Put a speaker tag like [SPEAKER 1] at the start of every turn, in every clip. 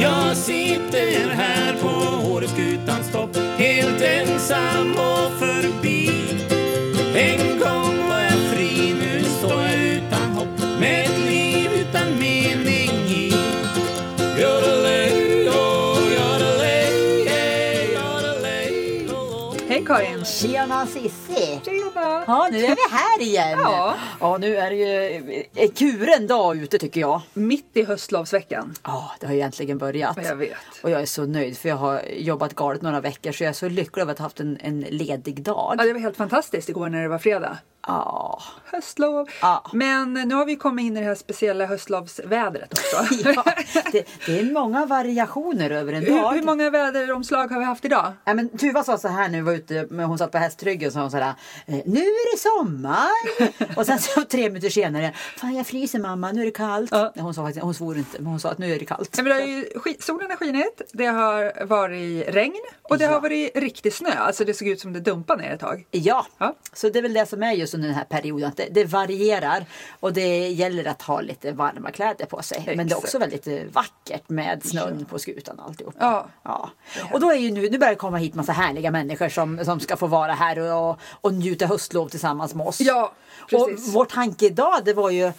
[SPEAKER 1] Jag sitter här på Åreskutans topp Helt ensam och förbi En gång var jag fri, nu står jag utan hopp Med ett liv utan mening i Yodelay, oh, yodelay, yeah, yodelay, oh.
[SPEAKER 2] Hej Karin!
[SPEAKER 3] Tjena Sissi!
[SPEAKER 2] Tjena!
[SPEAKER 3] Ja, nu är vi här igen.
[SPEAKER 2] Ja.
[SPEAKER 3] ja nu är det ju är kuren dag ute tycker jag.
[SPEAKER 2] Mitt i höstlovsveckan.
[SPEAKER 3] Ja, det har ju äntligen börjat.
[SPEAKER 2] Ja, jag vet.
[SPEAKER 3] Och jag är så nöjd för jag har jobbat galet några veckor så jag är så lycklig över att ha haft en, en ledig
[SPEAKER 2] Ja,
[SPEAKER 3] dag.
[SPEAKER 2] det var helt fantastiskt igår när det var fredag.
[SPEAKER 3] Ja,
[SPEAKER 2] Höstlov!
[SPEAKER 3] Ja.
[SPEAKER 2] Men nu har vi kommit in i det här speciella höstlovsvädret också.
[SPEAKER 3] ja det, det är många variationer över en
[SPEAKER 2] hur,
[SPEAKER 3] dag.
[SPEAKER 2] hur många väderomslag har vi haft idag?
[SPEAKER 3] Ja, men Tuva sa så här nu, var ute, men hon satt på hästryggen, sa hon så här, "Eh, nu är det sommar. Och sen så tre minuter senare, fan jag fryser mamma, nu är det kallt.
[SPEAKER 2] Ja.
[SPEAKER 3] Nej, Hon, sa faktiskt, hon svor inte, men hon sa att nu är det kallt.
[SPEAKER 2] Nej, men det har ju, sk- solen har skinit, det har varit regn och det har
[SPEAKER 3] Ja.
[SPEAKER 2] varit riktig snö. Alltså det såg ut som det dumpade ner ett tag.
[SPEAKER 3] Ja,
[SPEAKER 2] Ja.
[SPEAKER 3] så det är väl det som är just under den här perioden. Att det, det varierar och det gäller att ha lite varma kläder på sig. Men det är
[SPEAKER 2] Exakt.
[SPEAKER 3] också väldigt eh, vackert med snön på skutan och alltihop.
[SPEAKER 2] Ja.
[SPEAKER 3] Ja. Och då är ju nu, nu börjar det komma hit massa härliga människor som, som ska få vara här och, och njuta höstlov tillsammans med oss.
[SPEAKER 2] Ja,
[SPEAKER 3] och
[SPEAKER 2] precis.
[SPEAKER 3] vår tanke idag det var ju,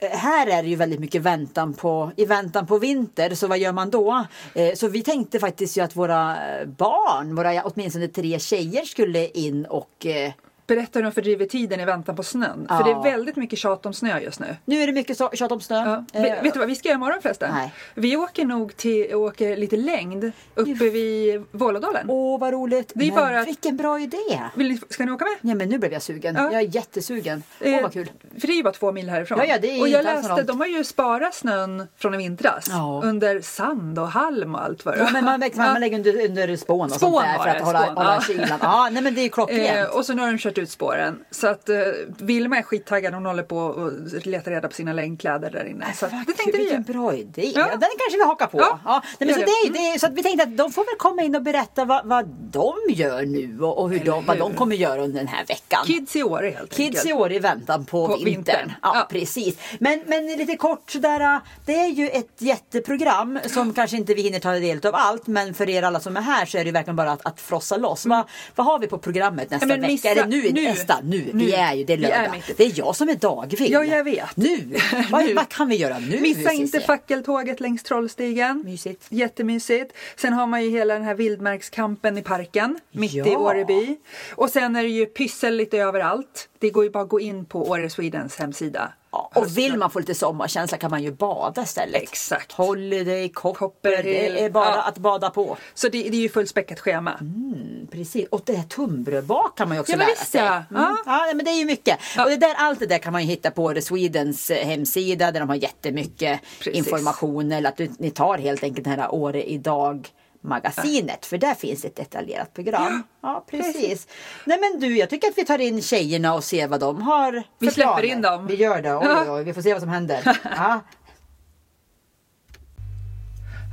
[SPEAKER 3] här är det ju väldigt mycket väntan på, i väntan på vinter, så vad gör man då? Eh, Så vi tänkte faktiskt ju att våra barn, våra ja, åtminstone tre tjejer skulle in och eh,
[SPEAKER 2] Berätta hur de fördriver tiden i väntan på snön. För
[SPEAKER 3] Ja.
[SPEAKER 2] det är väldigt mycket tjat om snö just nu.
[SPEAKER 3] Nu är det mycket så- tjat om snö.
[SPEAKER 2] Ja.
[SPEAKER 3] Eh,
[SPEAKER 2] Vet, vet du vad vi ska göra imorgon förresten?
[SPEAKER 3] Nej.
[SPEAKER 2] Vi åker nog till, åker lite längd uppe vid Vålådalen.
[SPEAKER 3] Åh vad roligt!
[SPEAKER 2] Det är
[SPEAKER 3] Men
[SPEAKER 2] bara att-
[SPEAKER 3] vilken bra idé!
[SPEAKER 2] Vill ni, ska ni åka med?
[SPEAKER 3] Nej men nu blev jag sugen.
[SPEAKER 2] Ja.
[SPEAKER 3] Jag är jättesugen. Åh
[SPEAKER 2] Eh,
[SPEAKER 3] vad kul!
[SPEAKER 2] För det är ju bara två mil härifrån.
[SPEAKER 3] Ja, ja, det är
[SPEAKER 2] och jag
[SPEAKER 3] inte alls
[SPEAKER 2] läste,
[SPEAKER 3] långt.
[SPEAKER 2] de har ju sparat snön från i vintras.
[SPEAKER 3] Ja.
[SPEAKER 2] Under sand och halm och allt vad det
[SPEAKER 3] Ja, men
[SPEAKER 2] var.
[SPEAKER 3] man, man, man lägger under, under spån och
[SPEAKER 2] Spån
[SPEAKER 3] sånt där
[SPEAKER 2] var
[SPEAKER 3] för att
[SPEAKER 2] det,
[SPEAKER 3] hålla,
[SPEAKER 2] spån,
[SPEAKER 3] hålla
[SPEAKER 2] ja.
[SPEAKER 3] kylan. Ja, nej men det är ju klockrent.
[SPEAKER 2] Eh, och så nu har de kört ut spåren. Så att eh, Vilma är skittaggad. Hon håller på och letar reda på sina längdkläder där inne. Så att, det tänkte vi
[SPEAKER 3] Äh, Vilken
[SPEAKER 2] ju.
[SPEAKER 3] bra idé!
[SPEAKER 2] Ja.
[SPEAKER 3] Ja. Den kanske vi hakar på.
[SPEAKER 2] Ja,
[SPEAKER 3] Ja. Nej, men
[SPEAKER 2] gör
[SPEAKER 3] så, det,
[SPEAKER 2] det.
[SPEAKER 3] är- det, är- så att vi tänkte att de får väl komma in och berätta vad, vad de gör nu och, och hur
[SPEAKER 2] Eller
[SPEAKER 3] de, vad de
[SPEAKER 2] hur?
[SPEAKER 3] kommer göra under den här veckan.
[SPEAKER 2] Kids i år helt
[SPEAKER 3] Kids i
[SPEAKER 2] enkelt.
[SPEAKER 3] år i väntan på,
[SPEAKER 2] På
[SPEAKER 3] vintern.
[SPEAKER 2] vintern.
[SPEAKER 3] Ja,
[SPEAKER 2] Ja.
[SPEAKER 3] precis. Men, men lite kort sådär. äh, Det är ju ett jätteprogram som kanske inte vi hinner ta del av allt. Men för er alla som är här så är det ju verkligen bara att, att frossa loss. Vad- vad har vi på programmet nästa
[SPEAKER 2] Nej, Mm. men
[SPEAKER 3] vecka?
[SPEAKER 2] missa-
[SPEAKER 3] Eller nu,
[SPEAKER 2] nu.
[SPEAKER 3] nästa, nu.
[SPEAKER 2] Nu.
[SPEAKER 3] Vi är ju, det är
[SPEAKER 2] Vi är
[SPEAKER 3] lördag.
[SPEAKER 2] mitt i-
[SPEAKER 3] det är jag som är dagvill.
[SPEAKER 2] Ja, jag vet.
[SPEAKER 3] Nu. Vad,
[SPEAKER 2] Nu.
[SPEAKER 3] vad kan vi göra nu?
[SPEAKER 2] Missa inte
[SPEAKER 3] Cissi?
[SPEAKER 2] fackeltåget längs Trollstigen.
[SPEAKER 3] Mysigt.
[SPEAKER 2] Jättemysigt. Sen har man ju hela den här vildmarkskampen i parken mitt i
[SPEAKER 3] Ja.
[SPEAKER 2] Åreby. Och sen är det ju pyssel lite överallt. Det går ju bara att gå in på Åre Swedens hemsida.
[SPEAKER 3] Ja, och vill man få lite sommarkänsla kan man ju bada istället.
[SPEAKER 2] Alltså- Exakt.
[SPEAKER 3] Holiday,
[SPEAKER 2] Copperhill.
[SPEAKER 3] Copper, det är bara
[SPEAKER 2] Ja.
[SPEAKER 3] att bada på.
[SPEAKER 2] Så det, det är ju fullspäckat schema.
[SPEAKER 3] Mm. Precis, och det här tunnbrödbak kan man ju också
[SPEAKER 2] Ja, men
[SPEAKER 3] lära
[SPEAKER 2] visst,
[SPEAKER 3] sig.
[SPEAKER 2] ja.
[SPEAKER 3] Mm. Ja. men det är ju mycket.
[SPEAKER 2] Ja.
[SPEAKER 3] Och det där, allt det där kan man ju hitta på The Swedens eh, hemsida där de har jättemycket
[SPEAKER 2] Precis.
[SPEAKER 3] information. Eller att du, ni tar helt enkelt det här Åre idag magasinet för där finns ett detaljerat program. Ja, precis. Nej men du, jag tycker att vi tar in tjejerna och ser vad de har för
[SPEAKER 2] Vi släpper
[SPEAKER 3] planer.
[SPEAKER 2] in dem.
[SPEAKER 3] Vi gör det. Oj, oj, oj. Vi får se vad som händer. Ja.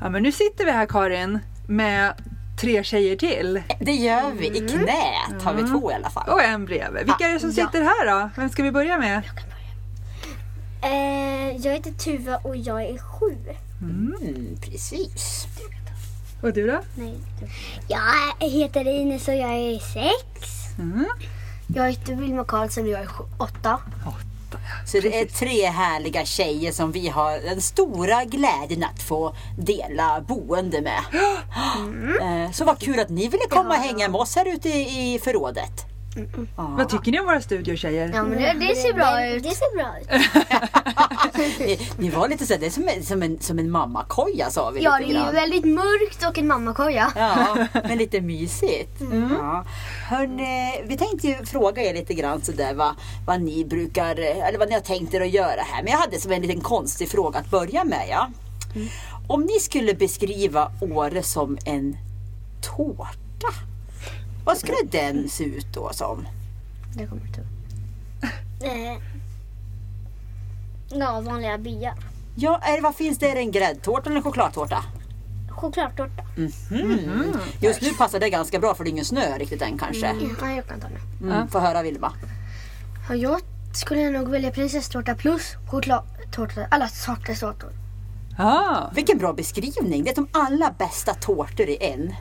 [SPEAKER 2] Ja, men nu sitter vi här Karin med tre tjejer till
[SPEAKER 3] Det gör vi. I knät har vi
[SPEAKER 2] Mm.
[SPEAKER 3] två i alla fall.
[SPEAKER 2] och en bredvid. Vilka är det som
[SPEAKER 4] Ja.
[SPEAKER 2] sitter här då? Vem ska vi börja med?
[SPEAKER 4] Eh, jag heter Tuva och jag är sju.
[SPEAKER 3] Mm, precis.
[SPEAKER 2] Och du då?
[SPEAKER 4] Nej. Jag heter Ines och jag är sex.
[SPEAKER 5] Mm.
[SPEAKER 4] Jag heter Vilma Karlsson och jag är sju, åtta.
[SPEAKER 3] Så det är tre härliga tjejer som vi har den stora glädjen att få dela boende med.
[SPEAKER 5] Mm.
[SPEAKER 3] Eh, Så vad kul att ni ville komma och hänga med oss här ute i i förrådet.
[SPEAKER 2] Vad tycker ni om våra studiotjejer?
[SPEAKER 5] Ja, men det, det ser bra
[SPEAKER 4] Men
[SPEAKER 5] ut.
[SPEAKER 4] Mm. Det ser bra ut.
[SPEAKER 3] Ni, ni var lite såhär, det är som en, som en, som en mammakoja sa vi
[SPEAKER 5] Ja, det
[SPEAKER 3] lite
[SPEAKER 5] är ju
[SPEAKER 3] grann.
[SPEAKER 5] väldigt mörkt och en mammakoja.
[SPEAKER 3] Ja, men lite mysigt. Ja. Hörrni, vi tänkte ju fråga er lite grann sådär vad, vad ni brukar, eh, eller vad ni har tänkt er att göra här. Men jag hade som en liten konstig fråga att börja med. Ja. Om ni skulle beskriva Åre som en tårta, vad skulle den se ut då som?
[SPEAKER 5] Det kommer du.
[SPEAKER 4] Eh, ja, vanliga byar.
[SPEAKER 3] Ja, är, vad finns det? Är det en gräddtårta eller en chokladtårta? Mm.
[SPEAKER 4] Chokladtårta.
[SPEAKER 3] Just nu passar det ganska bra för det är ingen snö riktigt än kanske.
[SPEAKER 5] Mm.
[SPEAKER 4] Ja, jag kan ta den.
[SPEAKER 3] Mm, Få höra Vilma.
[SPEAKER 5] Ja, jag skulle nog välja prinsesstårta plus chokladtårta. Alla sorters tårtor.
[SPEAKER 2] Ja.
[SPEAKER 3] Vilken bra beskrivning. Det är de alla bästa tårtor i en.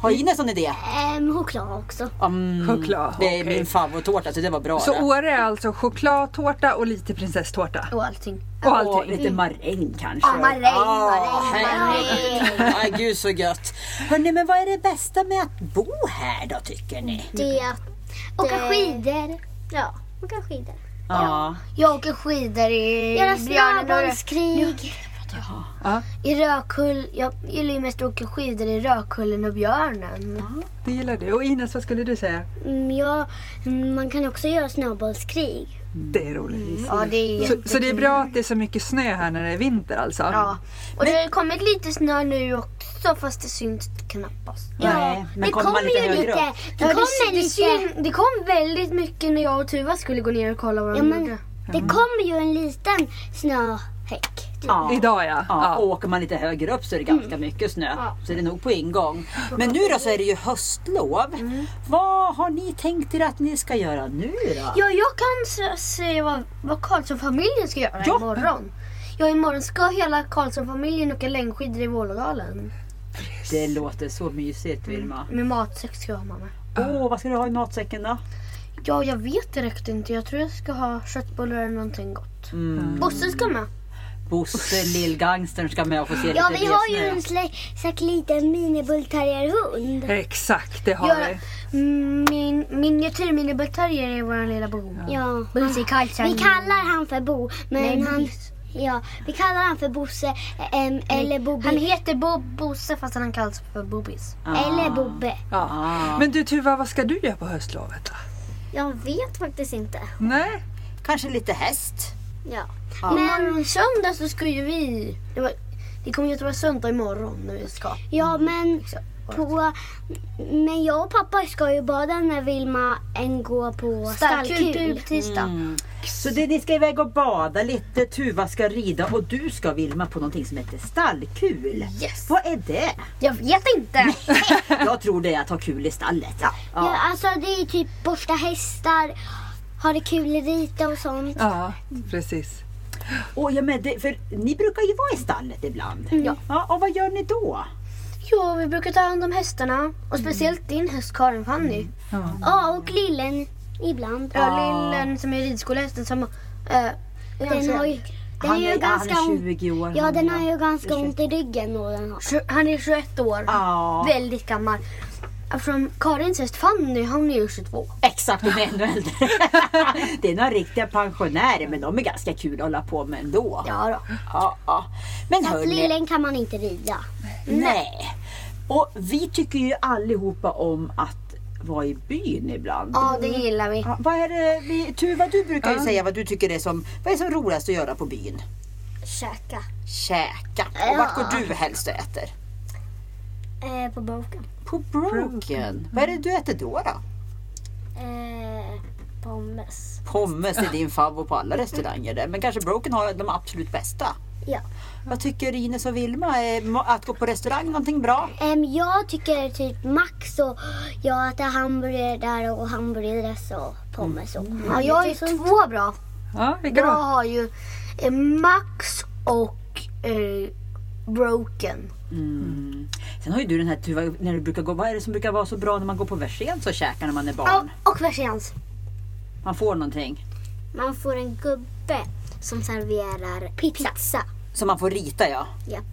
[SPEAKER 3] Har
[SPEAKER 2] Mm.
[SPEAKER 3] Ines någon idé?
[SPEAKER 4] Ehm, choklad också.
[SPEAKER 3] Mm,
[SPEAKER 2] Choklad,
[SPEAKER 3] Det är
[SPEAKER 2] okej.
[SPEAKER 3] min favorittårta så det var bra.
[SPEAKER 2] Så
[SPEAKER 3] det.
[SPEAKER 2] Åre är alltså chokladtårta och lite prinsesstårta.
[SPEAKER 5] Och allting.
[SPEAKER 2] Och
[SPEAKER 3] Och
[SPEAKER 2] allting. Mm.
[SPEAKER 3] lite maräng kanske. Ah,
[SPEAKER 4] Ja, maräng, maräng,
[SPEAKER 3] herregud. Ay, gud så gött. Hörrni, men vad är det bästa med att bo här då tycker ni?
[SPEAKER 4] Det,
[SPEAKER 5] Åka
[SPEAKER 4] det-
[SPEAKER 5] skidor.
[SPEAKER 4] eh, Ja, åka skidor.
[SPEAKER 3] Ja.
[SPEAKER 5] Jag åker skidor i
[SPEAKER 4] Göra
[SPEAKER 5] Björneborg.
[SPEAKER 4] snöbollskrig.
[SPEAKER 2] Ja,
[SPEAKER 5] I Rökull. Jag gillar ju mest att åka skidor i Rökullen och Björnen.
[SPEAKER 2] det gillar du. Och Ines, vad skulle du säga?
[SPEAKER 4] Mm, Ja, mm, man kan också göra snöbollskrig.
[SPEAKER 2] Det är roligt.
[SPEAKER 5] Ja, det är
[SPEAKER 4] Mm,
[SPEAKER 2] Så, så det är bra att det är så mycket snö här när det är vinter alltså?
[SPEAKER 5] Ja. Och det har kommit lite snö nu också fast det syns knappast.
[SPEAKER 3] Nej, eh, men
[SPEAKER 4] det
[SPEAKER 3] kommer man
[SPEAKER 4] kommer
[SPEAKER 3] lite
[SPEAKER 4] ju
[SPEAKER 3] högre
[SPEAKER 4] lite.
[SPEAKER 3] upp?
[SPEAKER 4] Det kommer
[SPEAKER 5] det,
[SPEAKER 4] lite.
[SPEAKER 5] syn- det kom väldigt mycket när jag och Tuva skulle gå ner och kolla vad de
[SPEAKER 4] Ja, men
[SPEAKER 5] gjorde.
[SPEAKER 4] det kommer ju en liten snöhäck.
[SPEAKER 3] Ja.
[SPEAKER 2] Idag ja.
[SPEAKER 3] Ja, och
[SPEAKER 2] ja.
[SPEAKER 3] åker man lite högre upp så är det
[SPEAKER 4] Mm.
[SPEAKER 3] ganska mycket snö. Så det är nog på ingång. Men nu då så är det ju höstlov.
[SPEAKER 4] Mm.
[SPEAKER 3] Vad har ni tänkt er att ni ska göra nu då?
[SPEAKER 5] Ja, jag kan s- säga vad, vad Karlsson-familjen ska göra
[SPEAKER 3] Ja.
[SPEAKER 5] imorgon. Ja, imorgon ska hela Karlsson-familjen åka längdskidor i Vålådalen.
[SPEAKER 3] Det låter så mysigt Vilma.
[SPEAKER 5] Med matsäck ska jag ha mamma.
[SPEAKER 3] Mm. Åh, vad ska du ha i matsäcken då?
[SPEAKER 5] Ja, jag vet direkt inte. Jag tror jag ska ha köttbullar eller någonting gott.
[SPEAKER 3] Mm.
[SPEAKER 5] Bosse ska med.
[SPEAKER 3] Bosse lillgangstern ska med och få se
[SPEAKER 4] Ja,
[SPEAKER 3] lite
[SPEAKER 4] vi har ju
[SPEAKER 3] mer
[SPEAKER 4] en
[SPEAKER 3] snö.
[SPEAKER 4] sle- slags liten minibullterrierhund.
[SPEAKER 2] Exakt, det har
[SPEAKER 5] Göra,
[SPEAKER 2] vi.
[SPEAKER 5] Mm, min miniatyr-minibullterrier är vår lilla bo.
[SPEAKER 4] Ja.
[SPEAKER 5] Bosse Karlsson.
[SPEAKER 4] Vi kallar han för Bo, men
[SPEAKER 5] Nej,
[SPEAKER 4] han...
[SPEAKER 5] Bosse.
[SPEAKER 4] Ja, vi kallar han för Bosse ehm, eller Bobbe.
[SPEAKER 5] Han heter Bo- Bosse fast han kallas för Bobis.
[SPEAKER 3] Ah.
[SPEAKER 4] Eller Bobbe.
[SPEAKER 2] Ja. Men du Tuva, vad ska du göra på höstlovet då?
[SPEAKER 4] Jag vet faktiskt inte.
[SPEAKER 2] Nej?
[SPEAKER 3] Kanske lite häst.
[SPEAKER 4] Ja.
[SPEAKER 5] Imorgon söndag så ska ju vi... Det, var, det kommer ju att vara söndag imorgon när vi ska.
[SPEAKER 4] Ja, men,
[SPEAKER 5] Liksom.
[SPEAKER 4] på, men jag och pappa ska ju bada när Vilma än går på stallkul.
[SPEAKER 5] tisdag.
[SPEAKER 4] Mm.
[SPEAKER 3] Så det, ni ska iväg och bada lite, Tuva ska rida och du ska Vilma på någonting som heter stallkul.
[SPEAKER 5] Yes.
[SPEAKER 3] Vad är det?
[SPEAKER 5] Jag vet inte.
[SPEAKER 3] Jag tror det är att ha kul i stallet.
[SPEAKER 4] Ja, alltså det är typ borsta hästar, ha det kul i rita och sånt.
[SPEAKER 2] Ja, precis.
[SPEAKER 3] Och jag med, det- för ni brukar ju vara i stallet ibland.
[SPEAKER 4] Mm.
[SPEAKER 3] Ja. och vad gör ni då?
[SPEAKER 5] jo, vi brukar ta hand om hästarna. Och speciellt din häst Karin Fanny.
[SPEAKER 4] Ja, och lillen ibland.
[SPEAKER 5] Ja, lillen som är ridskolehästen som... eh,
[SPEAKER 4] Den har ju, den är ju ganska
[SPEAKER 3] han är
[SPEAKER 4] ont.
[SPEAKER 3] 20 år.
[SPEAKER 4] Ja,
[SPEAKER 3] han,
[SPEAKER 4] den har ju ganska ont i ryggen. Och den har.
[SPEAKER 5] tju- han är 21 år.
[SPEAKER 3] Ja.
[SPEAKER 5] Väldigt gammal. Eftersom Karins häst Fanny, hon är ju 22.
[SPEAKER 3] Exakt, de är ännu äldre. det är några riktiga pensionärer men de är ganska kul att hålla på med ändå.
[SPEAKER 5] Ja då.
[SPEAKER 3] Ja, ja. Men
[SPEAKER 4] Så att
[SPEAKER 3] hörni,
[SPEAKER 4] lillen kan man inte rida.
[SPEAKER 3] nej. Och vi tycker ju allihopa om att vara i byn ibland.
[SPEAKER 5] Ja, det gillar vi.
[SPEAKER 3] Ja, vad är det vi, Tuva, du brukar ju säga vad du tycker är som, vad är som roligast att göra på byn?
[SPEAKER 4] Käka.
[SPEAKER 3] Käka. Och vart går du helst och äter?
[SPEAKER 4] Eh, på boken.
[SPEAKER 3] På Broken. Vad är det du äter då? då?
[SPEAKER 4] Eh, pommes.
[SPEAKER 3] Pommes är din favorit på alla restauranger där. Men kanske Broken har de absolut bästa.
[SPEAKER 4] Ja.
[SPEAKER 3] Vad tycker Ines och Vilma? Är ma- att gå på restaurang någonting bra?
[SPEAKER 4] Ehm, jag tycker typ Max och jag äter hamburgare och hamburgeres och pommes och
[SPEAKER 5] Ja, jag har ju två bra.
[SPEAKER 2] Ja, vilka
[SPEAKER 5] Jag
[SPEAKER 2] då?
[SPEAKER 5] har ju eh, Max och eh, Broken.
[SPEAKER 3] Mm. Sen har ju du den här Tuva, när du brukar gå, vad är det som brukar vara så bra när man går på Versailles och käkar när man är barn?
[SPEAKER 5] och Versailles.
[SPEAKER 3] Man får någonting
[SPEAKER 4] Man får en gubbe som serverar pizza. pizza.
[SPEAKER 3] som man får rita ja.
[SPEAKER 4] Japp.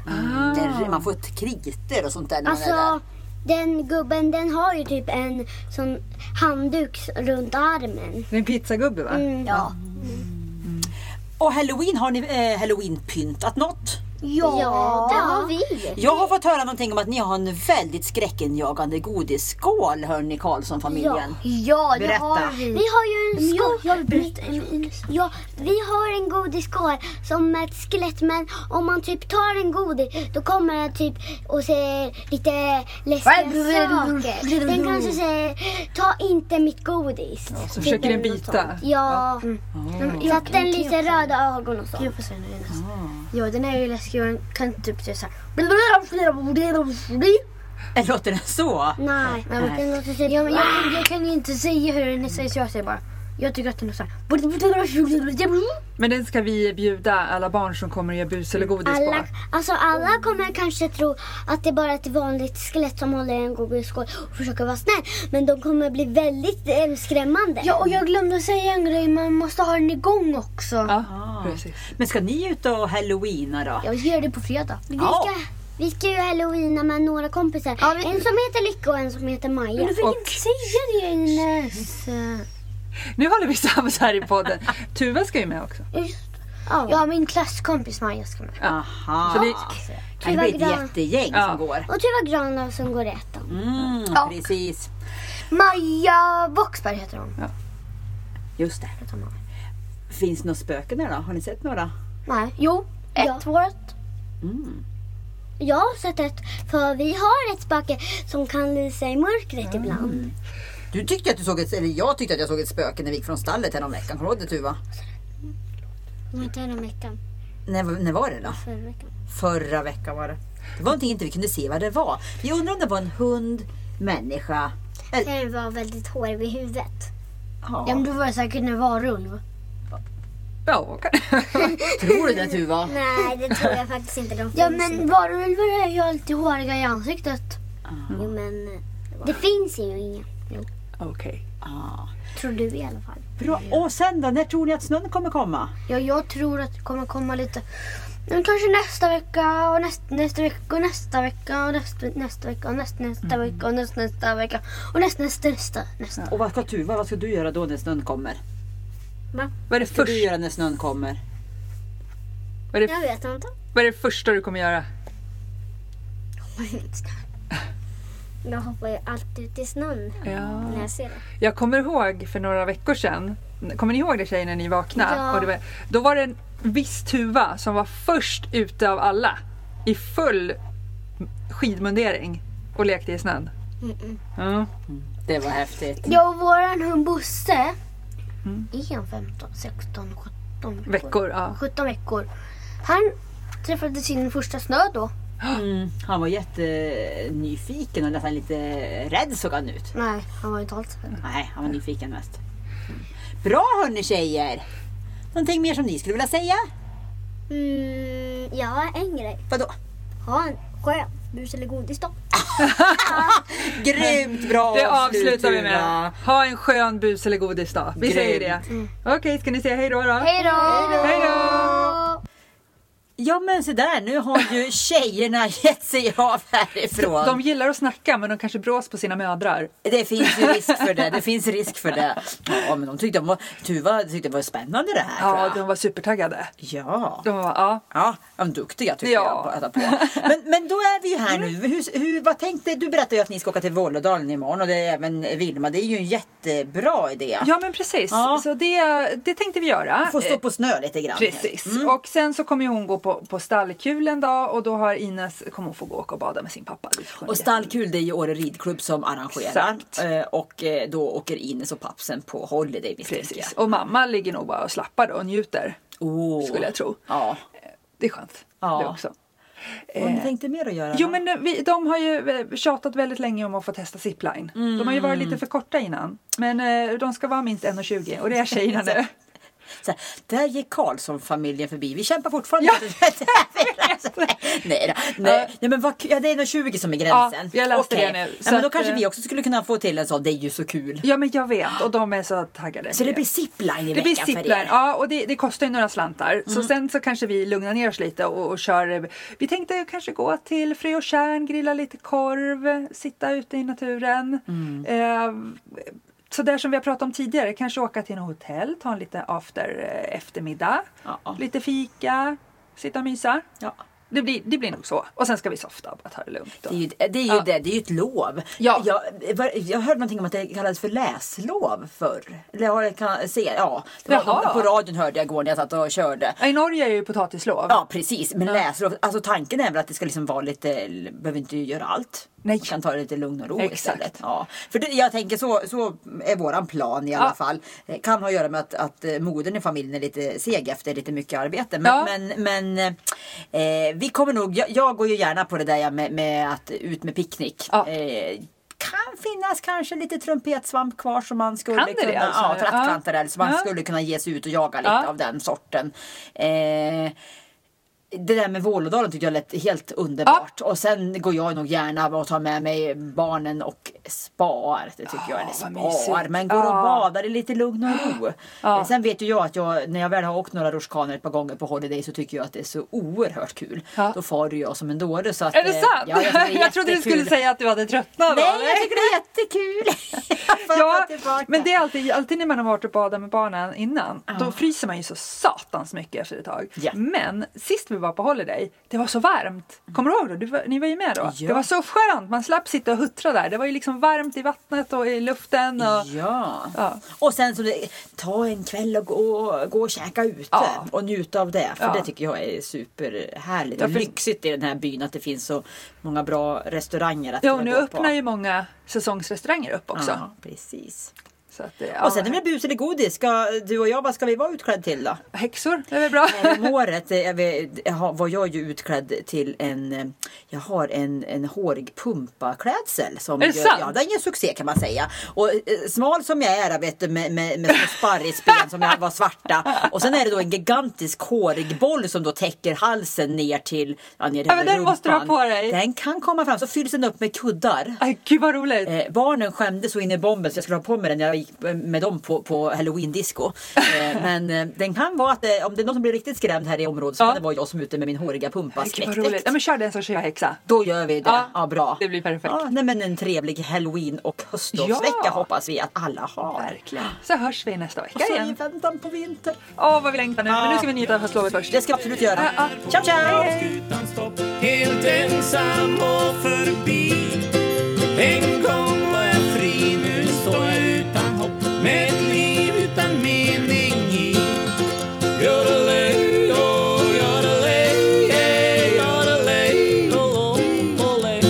[SPEAKER 3] Det är- Man får ett kriter och sånt där när man är där.
[SPEAKER 4] Alltså, den gubben den har ju typ en sån handduk s- runt armen.
[SPEAKER 2] Det är en pizzagubbe va?
[SPEAKER 4] Mm.
[SPEAKER 5] Ja.
[SPEAKER 3] Och halloween, har ni eh, halloween-pyntat något?
[SPEAKER 4] Ja, det har vi.
[SPEAKER 3] Jag har fått höra någonting om att ni har en väldigt skräckinjagande godisskål hörni Karlsson-familjen.
[SPEAKER 5] Ja, det
[SPEAKER 3] Berätta.
[SPEAKER 5] har vi.
[SPEAKER 4] Vi har ju en
[SPEAKER 5] Men jag-
[SPEAKER 4] skål.
[SPEAKER 5] jag vill berätta en godis.
[SPEAKER 4] Ja, vi har en godisskål som ett skelett men om man typ tar en godis då kommer den typ och säger lite läskiga saker. Den kanske säger ta inte mitt godis.
[SPEAKER 2] Så försöker den bita. Ah.
[SPEAKER 4] Ja,
[SPEAKER 5] Mm.
[SPEAKER 4] så att den lyser röda ögon och så.
[SPEAKER 5] Jag får säga nu Jonas. Ja, den är ju läskig och den kan typ säga såhär...
[SPEAKER 3] Eller Eh, Låter den så?
[SPEAKER 4] Nej,
[SPEAKER 5] Nej.
[SPEAKER 4] den låter typ...
[SPEAKER 5] Ja, men jag, jag kan ju inte säga hur den säger så jag säger bara... Jag tycker att den är såhär...
[SPEAKER 2] Men den ska vi bjuda alla barn som kommer och gör bus eller godis på.
[SPEAKER 4] Alla, alltså alla kommer kanske tro att det är bara ett vanligt skelett som håller i en godisskål och försöker vara snäll. Men de kommer bli väldigt eh, skrämmande.
[SPEAKER 5] Ja, och jag glömde säga en grej. Man måste ha den igång också.
[SPEAKER 2] Ja,
[SPEAKER 6] Ah.
[SPEAKER 2] precis.
[SPEAKER 6] Men ska ni ut och halloweena då?
[SPEAKER 5] Jag ska göra det på fredag.
[SPEAKER 4] Vi
[SPEAKER 6] Ja.
[SPEAKER 4] ska, vi ska ju halloweena med några kompisar.
[SPEAKER 5] Ja, vi-
[SPEAKER 4] En som heter Lycka och en som heter Maja.
[SPEAKER 5] Du fick
[SPEAKER 2] Och-
[SPEAKER 5] inte säga det Ines.
[SPEAKER 2] Nu håller vi sams här i podden. Tuva ska ju med också.
[SPEAKER 4] Ja.
[SPEAKER 5] Ja, min klasskompis Maja ska med.
[SPEAKER 6] Aha.
[SPEAKER 2] Så det-
[SPEAKER 6] kan det bli ett
[SPEAKER 4] Tyvärr.
[SPEAKER 6] jättegäng
[SPEAKER 2] Ja.
[SPEAKER 6] som går.
[SPEAKER 4] Och Tuva Granlöf som går i ettan.
[SPEAKER 6] Mm,
[SPEAKER 5] Ja.
[SPEAKER 6] Precis.
[SPEAKER 5] Maja Boxberg heter hon.
[SPEAKER 6] Just det.
[SPEAKER 5] Heter hon.
[SPEAKER 6] Finns det några spöken där då? Har ni sett några?
[SPEAKER 5] Nej, jo. Ett
[SPEAKER 4] Ja.
[SPEAKER 5] vårt.
[SPEAKER 6] Mm.
[SPEAKER 4] Jag har sett ett, för vi har ett spöke som kan lysa i mörkret
[SPEAKER 5] Mm.
[SPEAKER 4] ibland.
[SPEAKER 3] Du tyckte att du såg ett, eller jag tyckte att jag såg ett spöke när vi gick från stallet häromveckan. Kommer du ihåg det Tuva?
[SPEAKER 4] Om inte häromveckan,
[SPEAKER 3] När, när var det då?
[SPEAKER 4] förra veckan.
[SPEAKER 3] Förra veckan var det. Det var någonting inte vi kunde se vad det var. Vi undrar om det var en hund, människa. Eller,
[SPEAKER 4] Den var väldigt hårig vid huvudet.
[SPEAKER 3] ja.
[SPEAKER 5] Ja, men du var säkert en varulv.
[SPEAKER 2] Ja,
[SPEAKER 3] Tror du det Tuva?
[SPEAKER 4] Nej, det tror jag faktiskt inte. De finns
[SPEAKER 5] Ja, men varulvar är ju alltid håriga i ansiktet.
[SPEAKER 4] inte. Jo, men det finns ju inga.
[SPEAKER 2] okej.
[SPEAKER 6] Ah.
[SPEAKER 4] Tror du i alla fall.
[SPEAKER 6] Bra. Och sen då? När tror ni att snön kommer komma?
[SPEAKER 5] Ja, jag tror att det kommer komma lite... Men kanske nästa vecka och näst, nästa vecka och nästa vecka och nästa, nästa vecka och näst, nästa vecka och näst, nästa vecka och näst, nästa, nästa, nästa.
[SPEAKER 6] Och vad ska Tuva, vad ska du göra då när snön kommer?
[SPEAKER 2] Vad är det
[SPEAKER 6] Vad ska du
[SPEAKER 2] först-
[SPEAKER 6] göra när snön kommer?
[SPEAKER 2] vad är det-
[SPEAKER 4] Jag vet inte.
[SPEAKER 2] vad är det första du kommer göra?
[SPEAKER 4] Jag hoppar ju alltid ut i snön
[SPEAKER 2] Ja.
[SPEAKER 4] när jag ser det.
[SPEAKER 2] Jag kommer ihåg för några veckor sedan, kommer ni ihåg det tjejer när ni vaknade?
[SPEAKER 5] Ja.
[SPEAKER 2] Och det var, då var det en viss tuva som var först ute av alla i full skidmundering och lekte i snön. Ja.
[SPEAKER 6] Det var häftigt.
[SPEAKER 5] Ja, och våran hund Bosse är han 15, 16, 17
[SPEAKER 2] Veckor, ja.
[SPEAKER 5] 17 veckor. Han träffade sin första snö då.
[SPEAKER 6] Mm. Han var jättenyfiken och nästan lite rädd såg han ut.
[SPEAKER 5] Nej, han var inte alls
[SPEAKER 6] Nej, han var nyfiken mest. Bra hörni tjejer! Någonting mer som ni skulle vilja säga?
[SPEAKER 4] Mm, jag har en grej.
[SPEAKER 3] Vadå?
[SPEAKER 4] Ha en skön bus eller godis då.
[SPEAKER 3] Grymt bra
[SPEAKER 2] Det
[SPEAKER 3] avslut,
[SPEAKER 2] avslutar vi
[SPEAKER 3] Tuva.
[SPEAKER 2] med. Ha en skön bus eller godisdag. Vi säger det. Okej, ska ni säga hej då? då?
[SPEAKER 5] Hej då!
[SPEAKER 2] Hej då!
[SPEAKER 3] Ja men så där, nu har ju tjejerna gett sig av härifrån.
[SPEAKER 2] De gillar att snacka men de kanske brås på sina mödrar.
[SPEAKER 3] Det finns ju risk för det. Det finns risk för det. Ja men de tyckte, de var, Tuva tyckte det var spännande det här tror
[SPEAKER 2] Ja,
[SPEAKER 3] jag.
[SPEAKER 2] de var supertaggade.
[SPEAKER 3] Ja.
[SPEAKER 2] De var, ja.
[SPEAKER 3] Ja, de duktiga tycker
[SPEAKER 2] Ja. Mm.
[SPEAKER 3] jag. Att ta på. Men, men då är vi ju här nu. Hur, hur, vad tänkte, du berättade ju att ni ska åka till Vålådalen imorgon och det är även Vilma. Det är ju en jättebra idé.
[SPEAKER 2] Ja, men precis.
[SPEAKER 3] Ja.
[SPEAKER 2] Så det, det tänkte vi göra. Eh,
[SPEAKER 3] Få stå på Mm. snö lite grann.
[SPEAKER 2] Precis. Och sen så kommer ju hon gå på, på stallkul en dag och då har Ines, kommer hon få gå och åka och bada med sin pappa. Det får
[SPEAKER 3] Och
[SPEAKER 2] vi-
[SPEAKER 3] Stallkul det är ju Åre ridklubb som arrangerar.
[SPEAKER 2] Exakt.
[SPEAKER 3] Eh, Och eh, då åker Ines och pappsen på Holiday misstänker
[SPEAKER 2] Precis. Och mamma ligger nog bara och slappar då och njuter.
[SPEAKER 3] jag. Åh.
[SPEAKER 2] Skulle jag tro.
[SPEAKER 3] Ja.
[SPEAKER 2] Det är skönt.
[SPEAKER 3] Ja.
[SPEAKER 2] Det också.
[SPEAKER 3] Vad ni tänkte mer att göra?
[SPEAKER 2] Eh. Jo
[SPEAKER 3] då?
[SPEAKER 2] men vi, de har ju eh, tjatat väldigt länge om att få testa zipline. De har ju varit
[SPEAKER 3] Mm.
[SPEAKER 2] lite för korta innan. Men eh, de ska vara minst 1,20 och det är tjejerna nu.
[SPEAKER 3] Så här, där gick Karlsson-familjen förbi. Vi kämpar fortfarande.
[SPEAKER 2] Ja.
[SPEAKER 3] nej, då, nej, nej, men vad, kul. ja, det är nog 20 som är gränsen.
[SPEAKER 2] Ja, jag läste
[SPEAKER 3] Okej.
[SPEAKER 2] det nu. Så
[SPEAKER 3] Ja, men då
[SPEAKER 2] att,
[SPEAKER 3] kanske
[SPEAKER 2] eh,
[SPEAKER 3] vi också skulle kunna få till en sån. Det är ju så kul.
[SPEAKER 2] Ja men jag vet och de är så taggade.
[SPEAKER 3] Så det blir zipline i
[SPEAKER 2] Det blir
[SPEAKER 3] veckan för
[SPEAKER 2] zipline,
[SPEAKER 3] er. Mm.
[SPEAKER 2] ja och det, det kostar ju några slantar. Så sen så kanske vi lugnar ner oss lite och, och kör. eh, Vi tänkte kanske gå till Frö och Kärn, grilla lite korv, sitta ute i naturen.
[SPEAKER 3] Mm.
[SPEAKER 2] Eh, så där som vi har pratat om tidigare, kanske åka till något hotell, ta en lite after eh, eftermiddag,
[SPEAKER 3] Ja.
[SPEAKER 2] lite fika, sitta och mysa.
[SPEAKER 3] Ja.
[SPEAKER 2] Det blir, det blir nog så. Och sen ska vi softa och bara ta det lugnt. Och,
[SPEAKER 3] Det är ju, det, är ju
[SPEAKER 2] Ja.
[SPEAKER 3] det, det är ju ett lov.
[SPEAKER 2] Ja.
[SPEAKER 3] Jag, var- jag hörde någonting om att det kallades för läslov förr. Eller har jag kan se, ja. Det
[SPEAKER 2] Jaha.
[SPEAKER 3] var, på radion hörde jag igår när jag satt och körde.
[SPEAKER 2] Ja, I Norge är ju potatislov.
[SPEAKER 3] Ja precis, men läslov. Alltså tanken är väl att det ska liksom vara lite, behöver inte göra allt.
[SPEAKER 2] Nej.
[SPEAKER 3] Man kan ta det lite lugn och ro
[SPEAKER 2] Exakt.
[SPEAKER 3] istället. Ja. För det, jag tänker så, så är våran plan i alla
[SPEAKER 2] Ja.
[SPEAKER 3] fall. Eh, Kan ha att göra med att, att eh, modern i familjen är lite seg efter lite mycket arbete. Men,
[SPEAKER 2] Ja.
[SPEAKER 3] men, men eh, vi kommer nog, jag, jag går ju gärna på det där ja, med, med att ut med picknick.
[SPEAKER 2] Ja.
[SPEAKER 3] Eh, kan finnas kanske lite trumpetsvamp kvar som man skulle
[SPEAKER 2] Kan det det
[SPEAKER 3] kunna...
[SPEAKER 2] alltså?
[SPEAKER 3] Ja, trattkantarell. Så man
[SPEAKER 2] Ja.
[SPEAKER 3] skulle kunna ge sig ut och jaga lite
[SPEAKER 2] Ja.
[SPEAKER 3] av den sorten. Eh, det där med Vålådalen tyckte jag lät helt underbart. Och sen går jag nog gärna och tar med mig barnen och spar. Det tycker jag. Eller
[SPEAKER 2] vad mysigt.
[SPEAKER 3] spar. Men går och
[SPEAKER 2] Ja.
[SPEAKER 3] badar i lite lugn och ro. Eh, Sen vet ju jag att jag, när jag väl har åkt några rutschkanor ett par gånger på Holiday så tycker jag att det är så oerhört kul.
[SPEAKER 2] Ja.
[SPEAKER 3] Då far ju jag som en dåre. Så att,
[SPEAKER 2] Är det
[SPEAKER 3] eh,
[SPEAKER 2] sant?
[SPEAKER 3] Ja, jag, tycker det är
[SPEAKER 2] jag trodde du skulle
[SPEAKER 3] jättekul.
[SPEAKER 2] säga att du hade tröttnat.
[SPEAKER 3] Nej,
[SPEAKER 2] va?
[SPEAKER 3] jag tycker det är jättekul. För
[SPEAKER 2] Ja,
[SPEAKER 3] att tillbaka.
[SPEAKER 2] men det är alltid, alltid när man har varit och badat med barnen innan, då fryser man ju så satans mycket efter ett tag.
[SPEAKER 3] Ja.
[SPEAKER 2] Men sist vi var på Holiday, det var så varmt. Kommer du ihåg då? Du, var- ni var ju med då.
[SPEAKER 3] Ja.
[SPEAKER 2] Det var så skönt, man slapp sitta och huttra där. Det var ju liksom varmt i vattnet och i luften. Och,
[SPEAKER 3] Ja.
[SPEAKER 2] Ja.
[SPEAKER 3] Och sen så det- ta en kväll och gå, gå och käka ute
[SPEAKER 2] Ja.
[SPEAKER 3] och njuta av det. För
[SPEAKER 2] Ja.
[SPEAKER 3] det tycker jag är superhärligt
[SPEAKER 2] Ja,
[SPEAKER 3] och
[SPEAKER 2] för-
[SPEAKER 3] lyxigt i den här byn att det finns så många bra restauranger att
[SPEAKER 2] ja, och
[SPEAKER 3] kunna
[SPEAKER 2] nu
[SPEAKER 3] gå
[SPEAKER 2] öppnar
[SPEAKER 3] på.
[SPEAKER 2] ju många säsongsrestauranger upp också.
[SPEAKER 3] Ja, precis.
[SPEAKER 2] Så att, det- ja,
[SPEAKER 3] Och sen är det bus eller godis. Ska du och jag, vad ska vi vara utklädd till då?
[SPEAKER 2] Häxor, det är väl bra?
[SPEAKER 3] Häromåret eh, vi- ha- var jag ju utklädd till en, eh, jag har en, en hårig pumpaklädsel. Som
[SPEAKER 2] Är det sant?
[SPEAKER 3] Ja, den gör succé kan man säga. Och eh, smal som jag är vet du, med, med, med små sparrisben som jag var svarta. Och sen är det då en gigantisk hårig boll som då täcker halsen ner till, ja, ner till
[SPEAKER 2] Ja, men den måste du ha
[SPEAKER 3] rumpan.
[SPEAKER 2] på dig.
[SPEAKER 3] Den kan komma fram, så fylls den upp med kuddar.
[SPEAKER 2] Ay, Gud vad roligt!
[SPEAKER 3] Eh, barnen skämdes så in i bomben så jag skulle ha på mig den när jag gick med dem på, på halloween-disco. Eh, men eh, den kan vara att eh, om det är någon som blir riktigt skrämd här i området så
[SPEAKER 2] Ja.
[SPEAKER 3] kan det vara jag som är ute med min håriga pumpa.
[SPEAKER 2] Ay, Gud vad roligt! Ja, men kör den så kör jag häxa.
[SPEAKER 3] Då gör vi det.
[SPEAKER 2] Ja,
[SPEAKER 3] Ja, bra.
[SPEAKER 2] det blir perfekt.
[SPEAKER 3] Ja, nej, men en trevlig halloween och höstlovsvecka
[SPEAKER 2] Ja.
[SPEAKER 3] hoppas vi att alla har.
[SPEAKER 2] Verkligen. Så hörs vi nästa
[SPEAKER 3] Och
[SPEAKER 2] vecka
[SPEAKER 3] så i
[SPEAKER 2] igen.
[SPEAKER 3] väntan på vinter.
[SPEAKER 2] Åh, vad vi längtar nu. Men nu ska vi njuta av höstlovet först.
[SPEAKER 3] Det ska vi absolut göra.
[SPEAKER 2] Ja, ja.
[SPEAKER 3] Ciao, ciao!
[SPEAKER 1] Skutan stopp, helt ensam och förbi En gång var jag fri, nu står jag utan hopp Med ett liv utan mening i Yodelay, oh, yodelay, yeah, yodelay, oh, oh, olay.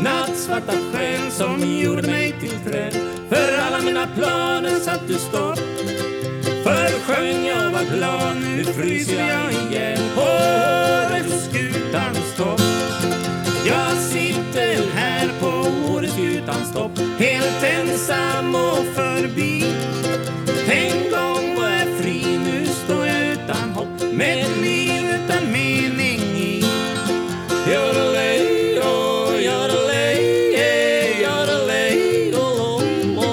[SPEAKER 1] Nattsvarta skäl som gjorde mig till träd För alla mina planer satt du stopp Förr sjöng jag var glad, nu fryser jag igen På Åreskutans topp Jag sitter här på Åreskutans topp Helt ensam och förbi En gång var jag fri, nu står jag utan hopp Med ett liv utan mening i Yodelay, oh, yodelay, yeah, yodelay, oh, oh,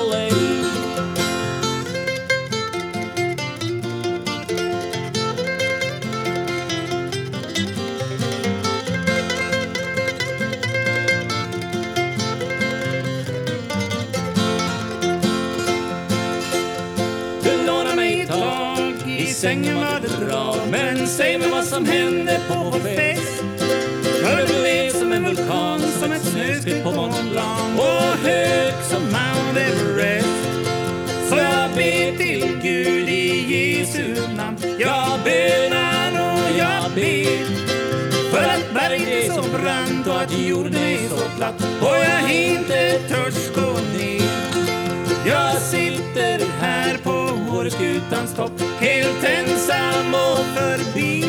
[SPEAKER 1] olay. Du lånar mig ett tag I sängen var det bra Men säg mig vad som hände på vår fest För du blev som en vulkan Som ett snöskred på Mont Blanc Och hög som Mount Everest Så jag ber till Gud i Jesu namn Jag bönar och jag ber för att berget är så brant och att jorden är så platt och jag inte törs gå ner jag sitter här på Åreskutans topp Helt ensam och förbi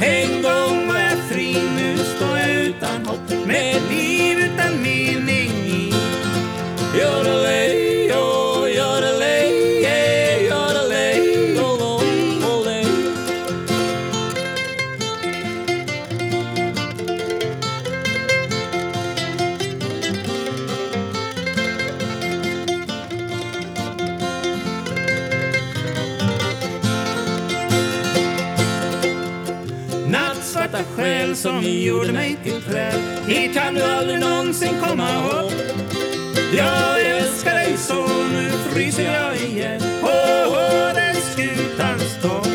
[SPEAKER 1] En gång var jag fri, nu står jag utan hopp Med ett liv utan mening i Yodelay, oh, yodelay, yeah, yodelay, oh, oh, olay. Nattsvarta själ som gjorde mig till träd Hit kan du aldrig någonsin komma upp Jag älskar dig så, nu fryser jag igen På Åreskutans topp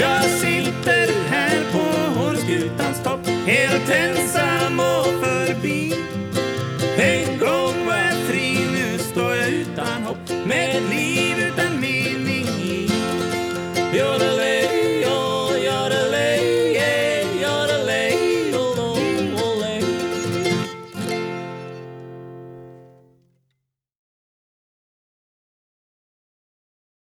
[SPEAKER 1] Jag sitter här på Åreskutans topp Helt ensam oh, oh,